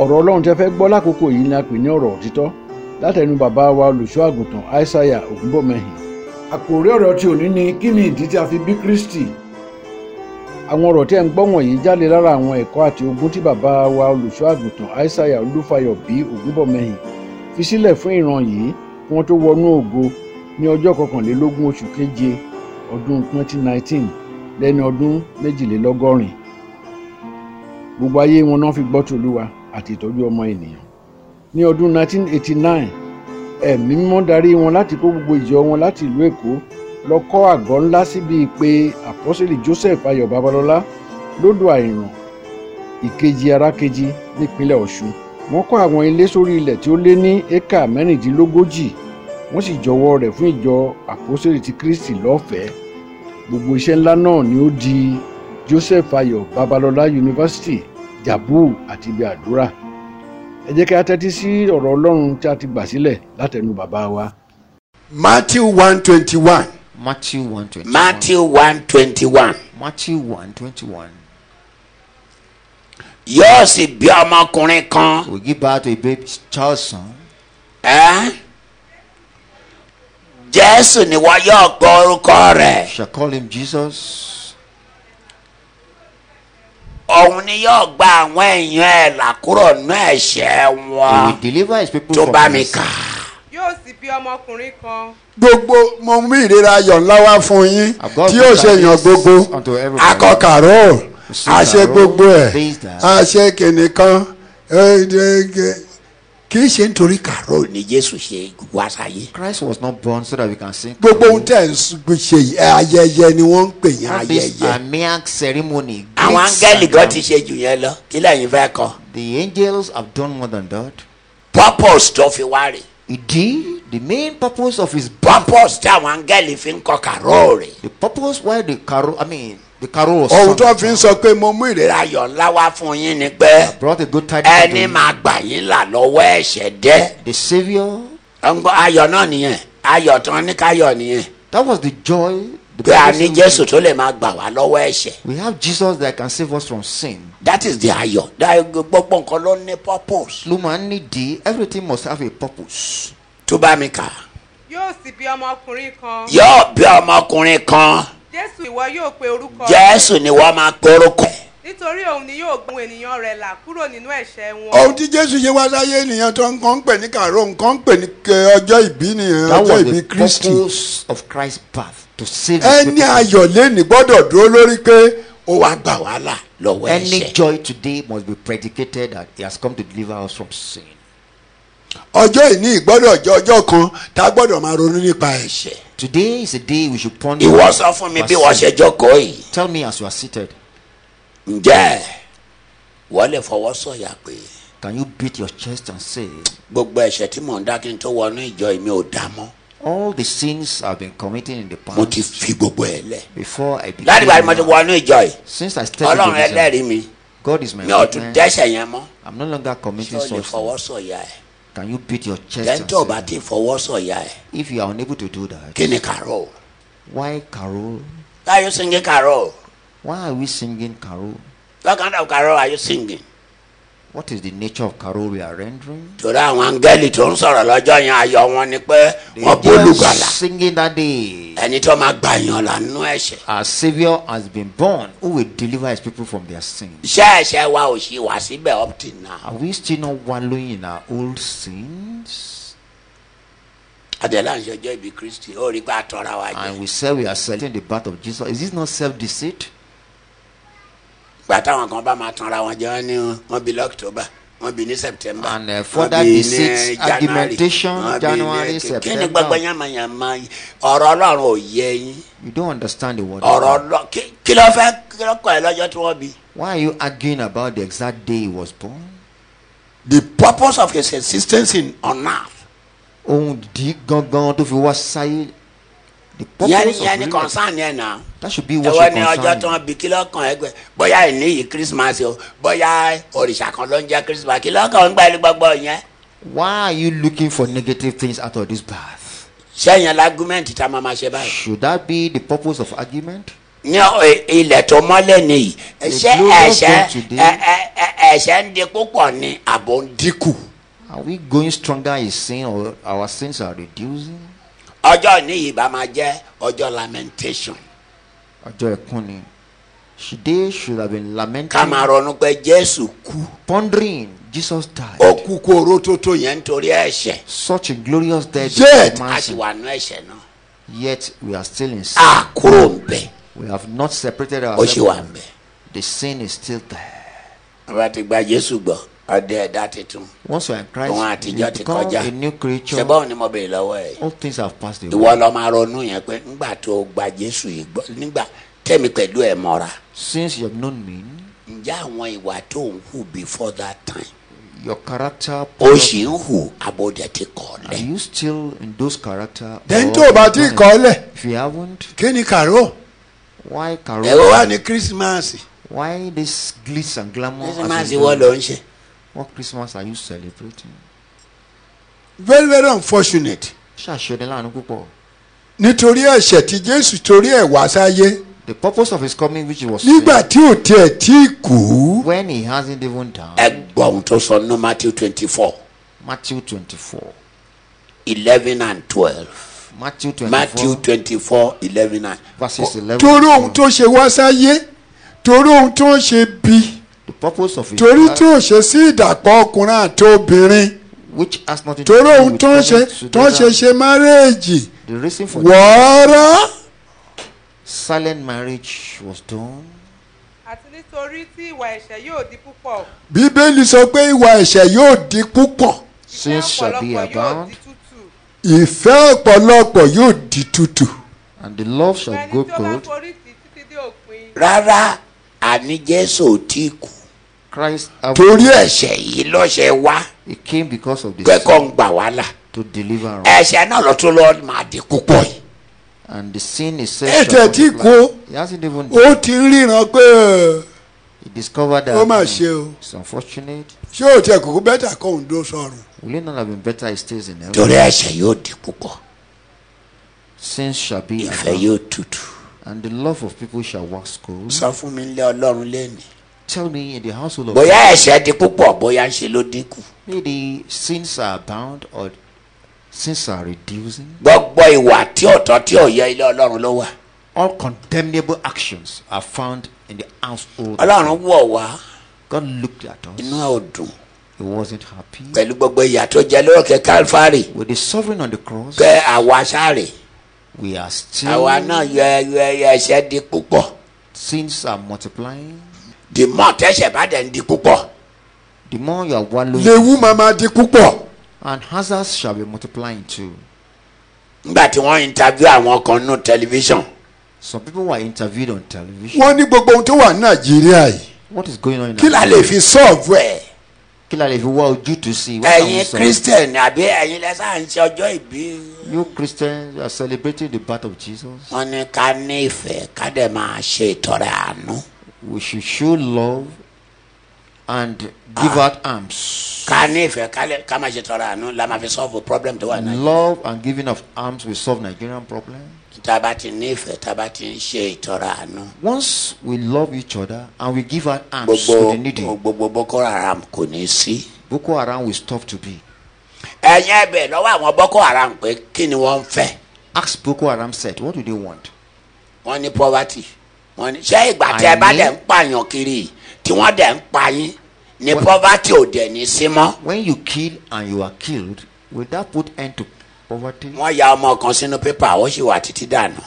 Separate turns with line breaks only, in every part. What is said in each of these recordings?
ọ̀rọ̀ ọlọ́run tẹ́ fẹ́ gbọ́ lákòókò yìí ni a pè ní ọ̀rọ̀ òtítọ́ látẹnu bàbá wa olùṣọ́ àgùntàn aishaiya ògúnbọ̀mẹ́hìn. àkòrí ọ̀rọ̀ tí òní ni kí ni ìdí tí a fi bí kristi. àwọn ọ̀rọ̀ tí ẹ̀ ń gbọ́ wọ̀nyí jáde lára àwọn ẹ̀kọ́ àti ogun tí bàbá wa olùṣọ́ àgùntàn aishaiya olúfayọ bí ògúnbọ̀mẹ́hìn fi sílẹ̀ fún ìran yìí kí wọ́n tó wọnú ògo ní ọjọ́ kọkànlélógún oṣù keje ọdún 2019 lẹ́ni ọdún méjìlélọ́gọ́rin gbogbo ayé wọn náà fi gbọ́ tòlúwa àti ìtọ́jú ọmọ ènìyàn ní ọdún 1989 ẹ̀mí mímọ́ darí wọn láti kó gbogbo ìjọ wọn láti ìlú èkó lọ kọ́ àgọ́ ńlá síbi ìpè àpọ́sẹ̀lì joseph ayọ̀ babalọ́lá lódò àìràn ìkejì arákejì nípínlẹ̀ ọ̀ṣun wọ́n kọ́ àwọn ilé sórí ilẹ̀ tí ó lé ní éka mẹ́rìndínlógójì wọ́n sì jọwọ́ rẹ̀ fún ìjọ àpọ́sẹ̀lì ti kristi lọ́fẹ̀ẹ́ gbogbo iṣẹ́ ńlá náà ni ó di joseph ayọ̀ babalọ́lá university jabu àti ibi àdúrà ẹ jẹ́ kí a tẹ́tí sí ọ̀rọ̀ ọlọ́run tí a ti gbà sílẹ̀ látẹnu bàbá wa.
Matthew 121.
Matthew 121.
Matthew 121.
Matthew 121.
Yóò sì bí ọmọkùnrin kan.
Will give birth to a baby child son.
ẹ́? Jésù ni wọ́n yóò gbọ́ orúkọ rẹ̀.
Shall call him Jesus.
Òun ni yóò gba àwọn èèyàn ẹ̀ là kúrò nínú ẹ̀ṣẹ̀
He
wọn.
will deliver his people
Ah. Tó
from
bá mi
sin.
kà.
yóò sì bí ọmọkùnrin kan
gbogbo mo mú ìrora ayọ̀ ńlá wá fún yín
I've got
tí yóò
good
ṣe èèyàn
ideas
gbogbo
unto everybody.
akọkàró
Six
àṣẹ
arrows,
gbogbo ẹ̀
things that-
àṣẹ kìnìkan kì í ṣe nítorí kàró
Ni Jésù ṣe wá sáyé.
Christ was not born so that we can sing.
gbogbo ohun tẹ̀ ń ṣe yìí, ayẹyẹ ni wọ́n ń pè yín
All these
ayẹyẹ
are mere ceremony.
Àwọn
Great
áńgẹ́lì kan
ceremony.
ti ṣe jù yẹn lọ. Kí lẹ́yìn fẹ́ kọ?
The angels have done more than that.
Purpose tó fi wá rè.
Indeed, the main purpose of his birth,
Purpose tí àwọn áńgẹ́lì fi ń kọ kàró rè.
the purpose why the carol, I mean, the carol was
ohun
sung
tó fi ń sọ pé mo mú ìrora ayọ̀
Ayọ̀ ńlá wá fún yín ni pé.
brought a good tidings. unto
ẹni
him.
máa gbà yín là lọ́wọ́ ẹ̀ṣẹ̀ dẹ́.
The Savior,
ọgbọ́n ayọ̀ náà nìyẹn ayọ̀ tán ní káyọ̀ nìyẹn.
that was the joy. The
pé a ní
blessing
jésù tó lè máa gbà wá lọ́wọ́ ẹ̀ṣẹ̀.
We have Jesus that can save us from sin.
that is the ayọ̀ That- gbogbo nǹkan ló ní purpose.
Luman needy, everything must have a purpose.
tó bá mi kà.
yóò sì bí ọmọkùnrin kan
yóò bí ọmọkùnrin kan
jésù ìwọ yóò pe orúkọ
jésù ni wọ́n máa korúkọ ẹ̀.
nítorí òun ni yóò gun ènìyàn rẹ̀ là kúrò nínú ẹ̀ṣẹ̀ wọn
ohun tí jésù ṣe wá sáyé nìyẹn tó nǹkan ń pè ní kàró nǹkan ń pè ní eh, ọjọ́ ìbí nìyẹn
That
ọjọ́
was
ìbí
the
kristi
purpose of Christ's birth to save his
ẹni
people.
ayọ̀ lẹ́nìí gbọ́dọ̀ dúró lórí pé
ó wá gbà wá là lọ́wọ́
Any
ẹ̀ṣẹ̀.
joy today must be predicated that he has come to deliver us from sin.
ọjọ́ ìní ìgbọ́dọ̀ jẹ́ ọjọ́ kan tá a gbọ́dọ̀ máa ronú nípa ẹ̀ṣẹ̀
Today is a day we should ponder.
ìwọ sọ fún mi bí wọ́n ṣe jókòó yìí.
Tell me as you are seated.
ǹjẹ́ wọ́n lè fọwọ́ sọ̀yà pé
Can you beat your chest and say,
gbogbo ẹ̀ṣẹ̀ tí mò ń dá kí n tó wọnú ìjọ mi ò dá mọ́
All the sins I've been committing in the past
mo ti fi gbogbo ẹ̀ lẹ̀.
before I became
láti bá mo ti
a man,
wọnú ìjọ yìí
since I stepped
ọlọ́run
into this,
ẹlẹ́rìí mi
God is my
mi ò tún
witness.
dẹ́sẹ̀ yẹn mọ́
I'm no longer
tí
committing
o lè
such
fọwọ́
sins.
sọ̀yà ẹ̀
Can you beat your chest and
tẹ́ńtọ̀ bá
say,
ti fọwọ́ sọ̀yà ẹ̀
If you are unable to do that,
kí ni kàró
why carol?
are you singing kàró
Why are we singing carol?
what kind of kàró are you singing
What is the nature of carol we are rendering?
torí àwọn angẹ́lì tó ń sọ̀rọ̀ lọ́jọ́ yẹn ayọ̀ wọn ni pé
The
wọ́n
angels
bólúgbàlà
singing that day.
ẹni tó máa gbà yàn là nínú ẹ̀ṣẹ̀
Our Savior has been born who will deliver his people from their sins.
iṣẹ́ ẹ̀ṣẹ̀ wa ò ṣì wá síbẹ̀ up till now
Are we still not wallowing in our old sins?
àtẹ̀lá ń ṣọjọ́ ibi kristi ó rí pé a tọ́ra wa
And
jẹ́
we say we are celebrating the birth of Jesus. Is this not self deceit?
gbà táwọn kan bá máa tọ́ra wọn jẹ́ wọ́n ní wọ́n bí lọ́kítọ́bà wọ́n bí ní september
And uh,
wọ́n
further
bí ní January,
deceit, argumentation,
wọ́n bí ní
January,
kí ni gbogbo
September.
yánmayànmá yìí? ọ̀rọ̀ ọlọ́run ò yẹ yín
You don't understand the word. of
ọ̀rọ̀
God.
lọ kí- kí ló fẹ́ kí ló kọ́ ẹ lọ́jọ́ tí wọ́n bí.
Why are you arguing about the exact day he was born?
the purpose of his existence in on earth.
Ohun ìdí gangan tó fi wá sáyé. The
yẹn yẹn
purpose of
ni
religion.
concern yẹn na.
That should be what
ẹwọ
should
ni ọjọ́
concern
tí
you.
wọ́n bí kí ló kàn ẹ gbẹ bóyá ìní yìí christmas o bóyá òrìṣà kan ló ń jẹ́ christmas kí ló kàn ń gbà ẹni gbogbo yẹn.
Why are you looking for negative things out of this birth?
sẹ́yìn lágúmẹ̀ntì tá a máa ma ṣe báyìí.
Should that be the purpose of argument?
ní ọ- ilẹ̀ tó mọ́lẹ̀ nìyí ṣé
global
ẹ̀ṣẹ̀
zone today.
ẹ- ẹ- ẹ- ẹ̀ṣẹ̀ ń di púpọ̀ ni àbò ń dínkù
Are we going stronger in sin or our sins are reducing?
ọjọ́ nìyí bá máa jẹ́ ọjọ́ lamentation
Ọjọ́ ẹ̀kún ni. Should they should have been
ká
lamenting,
máa ronú pé jésù kú
pondering, Jesus died.
ó kú kú oró tó tó yẹn nítorí ẹ̀ṣẹ̀
Such a glorious death.
Yet,
of
a sì
mercy.
wà nú ẹ̀ṣẹ̀ náà
Yet we are still in sin.
a kúrò ń bẹ̀
We have not separated
Ah. ó sì wà
ourselves.
ń bẹ̀
The sin is still there.
wọ́n ti gba jésù gbọ́ ọdẹ ẹ̀dá tuntun
Once you are in
òun
Christ, you
àtijọ́ ti
become
kọjá
a new creature.
ṣẹ́bọ́n ni mo béèrè lọ́wọ́ ẹ̀
All things have passed away.
ìwọ lọ máa ronú yẹn pé ńgbà tó o gba jésù yìí gbọ́ nígbà tẹ̀mí pẹ̀lú ẹ̀ mọ́ra
Since you have known me,
ǹjẹ́ àwọn ìwà tó ń hù before that time
your character.
ó sì ń hù abọ́dẹ ti kọ̀
Are
lẹ̀
you still in those character?
Then
or
tó o bá ti
not?
kọ́ lẹ̀
If you haven't,
kí ni kàró
why
ó
Eh,
wà
Carol?
ní kírísímàsì
Why this glitz and glamour? as
kírísímàsì
we
wọ́n
do?
ló ń ṣe
What Christmas are you celebrating?
very very unfortunate
Ṣàṣeyọrí láàánú púpọ̀.
nítorí ẹ̀ṣẹ̀ tí Jésù torí ẹ̀ wá sáyé
The purpose of his coming, which was
nígbà tí ò tiẹ̀ tí ì kú
when he hasn't even done,
ẹ gbọ́ ohun tó sọ ní matthew twenty four
Matthew 24,
eleven and twelve
Matthew 24,
matthew twenty four eleven and
verses 11.
torí ohun tó ṣe wá sáyé torí ohun tó ń ṣe bí
the purpose of his
torí
birth,
tí ò ṣe sí ìdàpọ̀ ọkùnrin àti obìnrin
which has nothing to
torí
do
ohun
with
tó ń ṣe
present
tó ń ṣe
together.
ṣe márẹ́ẹ̀jì
The reason for the
wọ́ọ́rọ́.
silent marriage was done.
àti nítorí tí ìwà ẹ̀ṣẹ̀ yóò di púpọ̀
bíbélì sọ pé ìwà ẹ̀ṣẹ̀ yóò di púpọ̀
iṣẹ́
Sin shall be
ọ̀pọ̀lọpọ̀ yóò
abound,
di tútù
ìfẹ́ ọ̀pọ̀lọpọ̀ yóò di tútù.
and the love
Ṣùgbọ́n
shall
ẹni
go
tí ó bá
cold.
forí tì títí dé òpin
rárá àní jésù ò tí ì kú
Christ, have-
torí ẹ̀ṣẹ̀ yìí lọ́ṣẹ̀ wá
he came because of the
kẹ́kọ̀ọ́ ń
sin
gbà wá là
to deliver
Eh.
us,
ẹ̀ṣẹ̀ náà lọ́tún lọ́ọ́ máa di púpọ̀ yìí
and the sin is said.
ẹ tẹ̀
shall
Eh, tí
multiply.
kú
He hasn't even.
ó ti ń ríran pé ẹ̀,
He discovered that.
Ó mà
hmm,
ṣe o.
It's unfortunate.
ṣé ò tiẹ̀ kúkú bẹ́tà kóhùn dó sọ̀rùn.
Will it not have been better he stays in heaven?
torí ẹ̀ṣẹ̀ yóò di púpọ̀
Sin shall be
ìfẹ́
abound,
yóò tutù.
and the love of people shall wax cold.
sọ fún mi lé ọlọ́run lẹ́nu.
Tell me in the household of
bóyá ẹ̀ṣẹ̀ di púpọ̀ bóyá ń ṣe ló dínkù.
maybe sins are abound or sins are reducing.
gbogbo ìwà tí ọ̀tọ̀ tí ò yẹ ilé ọlọ́run ló wà.
All condemnable actions are found in the household. of
ọlọ́run wọ̀ wá
God looked at us.
inú ẹ̀ ò dùn
He wasn't happy.
pẹ̀lú gbogbo ìyà tó jẹ lóòkè kálfárì
With the sovereign on the cross,
pé àwa sáré
we are
àwa náà
still
yọ ẹyọ ẹyọ ẹ̀ṣẹ̀ di púpọ̀
sins are multiplying.
the more tẹ̀ṣẹ̀ bá dẹ̀ ń di púpọ̀
The more you are wallowing,
léwu máa máa di púpọ̀.
and hazards shall be multiplying too.
nígbà tí wọ́n interview àwọn kan nù tẹlifíṣàn
Some people were interviewed on television.
wọ́n ní gbogbo ohun tó wà ní nàìjíríà yìí
What is going on in
kí la lè fi sọ́ọ̀bù ẹ̀.
Kí la lè fi wá ojú tu sí? What can we
ẹ̀yin
solve?
christian àbí ẹ̀yin lẹ́sà ń ṣe ọjọ́ ìbí
You Christians you are celebrating the birth of Jesus.
wọ́n ní ká ní ìfẹ́ ká dẹ̀ máa ṣe ìtọrẹ àánú
We should show love and give
Ah.
out arms.
ká ní ìfẹ́ ká lè- ká máa ṣe ìtọrẹ àánú la máa fi solve problem tó wà náà.
Love and giving of arms will solve Nigerian problem.
tá a bá ti ní ìfẹ́ tá a bá ti ń ṣe ìtọrẹ àánú
Once we love each other and we give out arms
gbogbo
to the needy,
gbogbo boko haram kò ní í sí.
Boko Haram will stop to be.
ẹ̀yin ẹ̀bẹ̀ lọ́wọ́ àwọn boko haram pé kí ni wọ́n ń fẹ́
Ask Boko Haram said, what do they want?
wọ́n ní poverty wọ́n ní ṣé ìgbà tí ẹ bá
Àìní.
dẹ̀ ń pààyàn kiri yìí, tí wọ́n dẹ̀ ń pa yín ni poverty ò dẹ̀ ní sí mọ́.
When you kill and you are killed, will that put end to poverty?
wọ́n ya ọmọ kan sínú pépà ó sì wà títí dànù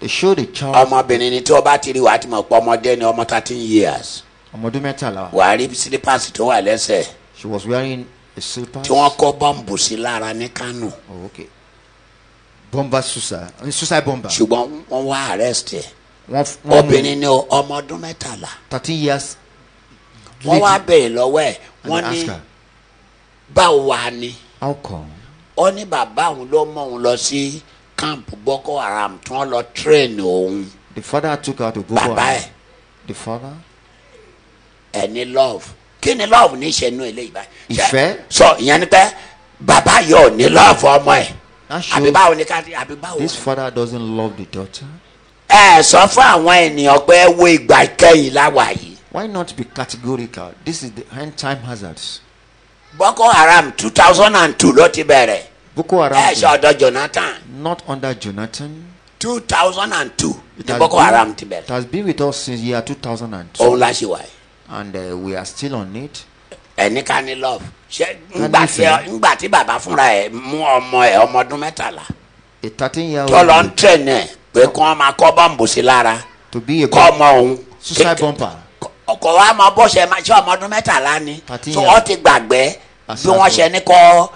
They show the child
ọmọbìnrin ni tí wọ́n bá ti rí wàá ti mọ̀ pé ọmọdé ni ọmọ thirteen years
ọmọdún mẹ́tàlá.
wàá rí sílípàsì tó wà lẹ́sẹ̀
She was wearing a slipper.
tí wọ́n kọ́ bọ́ǹbù sí lára ní kánò
Oh, okay. Bomber suicide. I mean, suicide bomber.
ṣùgbọ́n wọ́n wá arrest ẹ̀.
One, f- one
obìnrin ni o, ọmọ ọdún mẹ́tàlá
Thirteen years.
wọ́n
lady,
wá béèrè lọ́wọ́ ẹ̀
and
wọ́n
ask
ní
her,
báwo wà ni
how come?
ó ní bàbá òun ló mọ òun lọ sí kámpù boko haram tí wọ́n lọ train òun
The father took her to Boko
bàbá
Haram.
ẹ̀
The father.
ẹ̀ ní love kí ni love ní í ṣe nú ilé ìbá
Ìfẹ́.
sọ ìyẹn ni pé bàbá yóò ní love ọmọ ẹ̀
That
àbí
shows
báwo ni ká àbí báwo
this father doesn't love the daughter.
ẹ sọ fún àwọn ènìyàn pé ẹ wo ìgbà ìkẹyìn láwà yìí
Why not be categorical? This is the end time hazards.
boko haram two thousand and two ló ti bẹ̀rẹ̀
Boko
ẹ
Haram,
ṣe ọ̀dọ̀ jonathan
not under Jonathan.
two thousand and two
It
ni
has
boko
been-
haram ti
It
bẹ̀rẹ̀ Oh.
has been with us since year 2002,
òun la ṣe wà yìí
and uh, we are still on it.
ẹni ká ní love ṣe ńgbà tí
nífẹ̀ẹ́.
ńgbà tí bàbá fúnra ẹ mú ọmọ ẹ ọmọ ọdún mẹ́tàlá
A 13 year
tó lọ ń
old
tẹ̀ náà pé kí wọ́n máa kọ́ bọ́ǹbù sí lára
to be a
kọ́ ọmọ òun
suicide
kéke-
bomber.
ọkọ̀ wa mọ bó ṣe máa ṣe ọmọ ọdún mẹ́tàlá ni
Thirteen
so
years.
wọ́n ti gbàgbé bí
Asíwájú.
wọ́n ṣe ní kọ́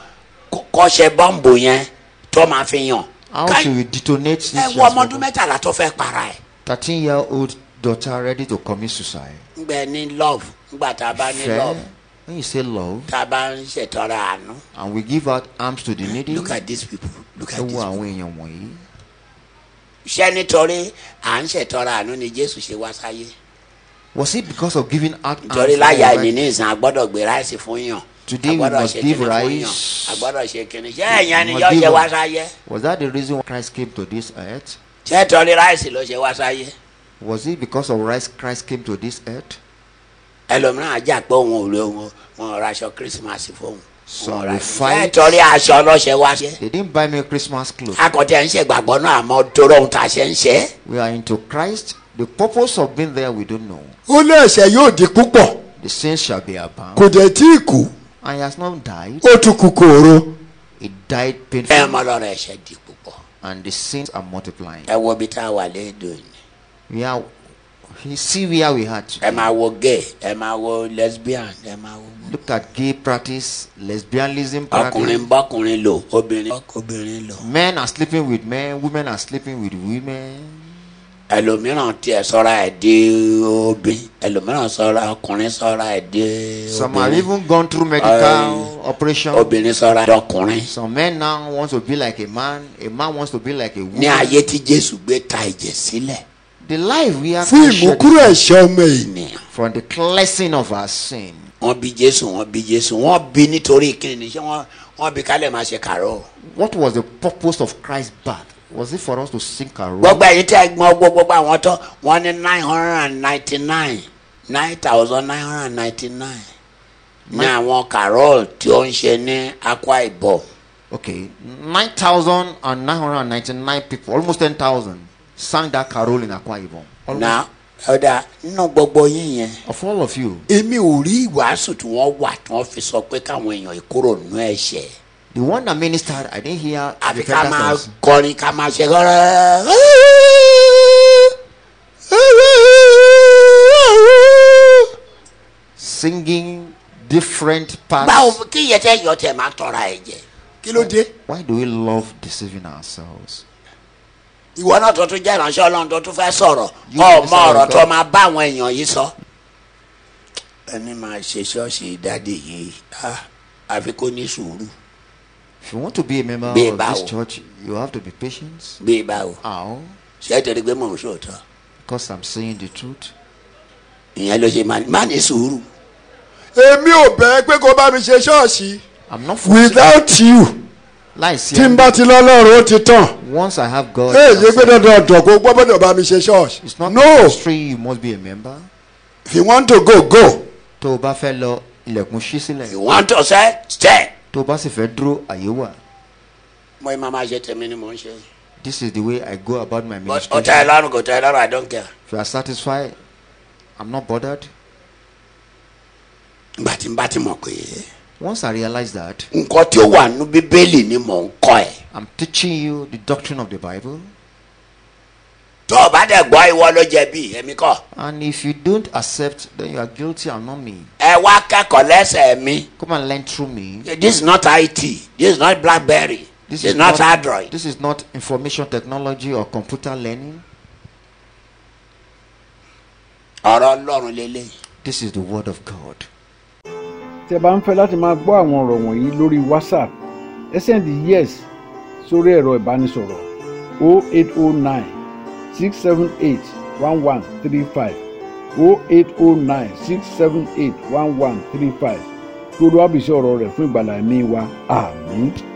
kọ́ ṣe bọ́ǹbù yẹn tó máa fi yàn
How
Ká-
should we detonate
ẹ
this
wo ọmọ ọdún
bomb?
mẹ́tàlá tó fẹ́ para ẹ̀
13 year old daughter ready to commit suicide.
ńgbẹ ní love ńgbà tá a bá ní
Fair.
love
When you say love
tá a bá ń ṣètọ́ra àánú
and we give out arms to the needy,
look at these people look at
ẹ
these
wo
people
àwọn èèyàn wọ̀nyí.
ṣé nítorí à ń ṣètọ́ra àánú ni jésù ṣe wá sáyé
Was it because of giving out arms?
nítorí láyà
that
ẹni
we
ní ìsìn agbọ́dọ̀ gbé ráìsì fún yàn
Today we
agbọ́dọ̀
must
ṣe
give
kinní fún yàn
rice.
agbọ́dọ̀ ṣe kinní ṣé
We
ẹ̀yàn ni
must
yóò
give
ṣe wá
up.
sáyé
Was that the reason why Christ came to this earth?
ṣé torí ráìsì ló ṣe wá sáyé
Was it because of Christ Christ came to this earth?
ẹlòmíràn ajá pé òun ò lè òun wọn ò raṣọ kírísímàsì fóun
So
wọn ò
we
raṣọ ṣé
fight.
torí aṣọ ló ṣe wá ṣe
They didn't buy me Christmas clothes.
akọ̀tẹ́ ń ṣe gbàgbọ́ náà àmọ́ torí ohun tá a ṣe ń ṣe é.
We are into Christ. The purpose of being there, we don't know.
ó ní ẹ̀ṣẹ̀ yóò di púpọ̀
The sins shall be abound.
kò dẹ̀ tí ì kú
And he has not died.
ó tún kú kòòrò
He died
ẹ
painfully.
mọ lọ́rọ̀ ẹ̀ṣẹ̀ di púpọ̀
And the sins are multiplying.
ẹ wo ibi tá a wà lédo yìí
We are, you see where we are
ẹ
today.
máa wo gay ẹ máa wo lesbian ẹ máa wo
Look at gay practice, lesbianism
ọkùnrin
practice.
ń bọ́kùnrin lò obìnrin obìnrin lò
Men are sleeping with men, women are sleeping with women.
ẹlòmíràn tiẹ̀ sọ́ra ẹ̀ di obìn ẹlòmíràn sọ́ra ọkùnrin sọ́ra ẹ̀ di
Some have
obìnrin
even gone through medical operation.
obìnrin sọ́ra ẹ̀ dọkùnrin.
Some men now want to be like a man, a man wants to be like a
ní
woman.
ayé tí jésù gbé ta ẹ̀jẹ̀ sílẹ̀
The life we are
fún
created
ìmúkúrò ẹ̀ṣẹ̀ ọmọ ènìyàn
ni
from the cleansing of our sin.
wọ́n bí jésù wọ́n bí jésù wọ́n bí nítorí kíni ṣé wọ́n wọ́n bí kálẹ̀ máa ṣe kàró.
What was the purpose of Christ's birth? Was it for us to sink our
gbogbo ẹ̀yin tẹ́ ẹ gbọ́n gbogbo gbogbo àwọn tó wọ́n ní nine hundred and ninety nine nine thousand nine hundred and ninety nine ní àwọn kàró tí ó ń ṣe ní akwa ibom
Okay, 9,999 people, almost 10,000, sang that carol in Akwa Ibom. Almost-
na ọ̀dà nínú gbogbo yín yẹn
Of all of you,
èmi ò rí ìwàásù tí wọ́n wà tí wọ́n fi sọ pé káwọn èèyàn ìkúrò nínú ẹ̀ṣẹ̀.
the one that ministered, I didn't hear. the
àfi ká máa
Pentecostals.
kọrin ká máa ṣe kọrọ.
Singing different parts.
báwo kí iye tẹ yọ tẹ máa tọra ẹ jẹ
kí ló dé
Why do we love deceiving ourselves?
ìwọ náà tó tún jẹ ìránṣẹ́ Ọlọ́run tó tún fẹ́ sọ̀rọ̀
You
kọ
can
ọmọ
say
ọ̀rọ̀
God.
tó máa bá àwọn èèyàn yìí sọ. ẹni máa ṣe ṣọ́ọ̀ṣì dádì yìí ah, àfi kó ní sùúrù
If you want to be a member
Be
of this
bow.
church, you have to be patient.
bíi báwo
How?
ṣé ẹ torí pé mò ń sòótọ́
Because I'm saying the truth.
ìyẹn ló ṣe máa ní- má ní sùúrù
èmi ò bẹ́ẹ̀ pé kó bá mi ṣe ṣọ́ọ̀ṣì
I'm not forcing.
without you
Láì
tí n
sí.
bá ti lọ́lọ́run ó ti tàn
Once I have God,
ẹ yé
that's
pé
it.
dandan ọ̀dọ̀ kó gbọ́dọ̀ bá mi ṣe ṣọ́ọ̀ṣì
it's not
no
compulsory. You must be a member.
if you want to go go
Tó o bá fẹ́ lọ, ilẹ̀kùn ṣí sílẹ̀.
ìwọ́n tó ṣe tẹ̀.
Tó o bá sì fẹ́ dúró, àyè wà.
mo ì máa máa ṣe tèmi ni mò ń ṣe
This is the way I go about my
but ó tẹ́ ẹ
ministry.
lọ́rùn kò tẹ́ ẹ lọ́rùn I don't care.
If you are satisfied, I'm not bothered.
ìgbà tí n bá ti mọ̀ pé
Once I realize that,
nǹkan tí ó wà nínú bíbélì ni mò ń kọ́ ẹ̀.
I'm teaching you the doctrine of the Bible.
tó o bá dẹ̀ gbọ́ ìwọ ló jẹ̀bi èmi kọ́
And if you don't accept, then you are guilty and not me.
ẹ wá kẹ́kọ̀ọ́ lẹ́sẹ̀ mi
Come and learn through me.
this is not IT this is not Blackberry this, is not Android
This is not information technology or computer learning.
ọ̀rọ̀ ọlọ́run lélẹ̀
This is the word of God.
tí ẹ bá ń fẹ́ láti máa gbọ́ àwọn ọ̀rọ̀ wọ̀nyí lórí whatsapp ẹ sẹ́ndì yes sórí ẹ̀rọ ìbánisọ̀rọ̀ 0809 678 1135 0809 678 1135 kí olúwàbísí ọ̀rọ̀ rẹ̀ fún ìgbàlá ẹ̀mí wa àmín.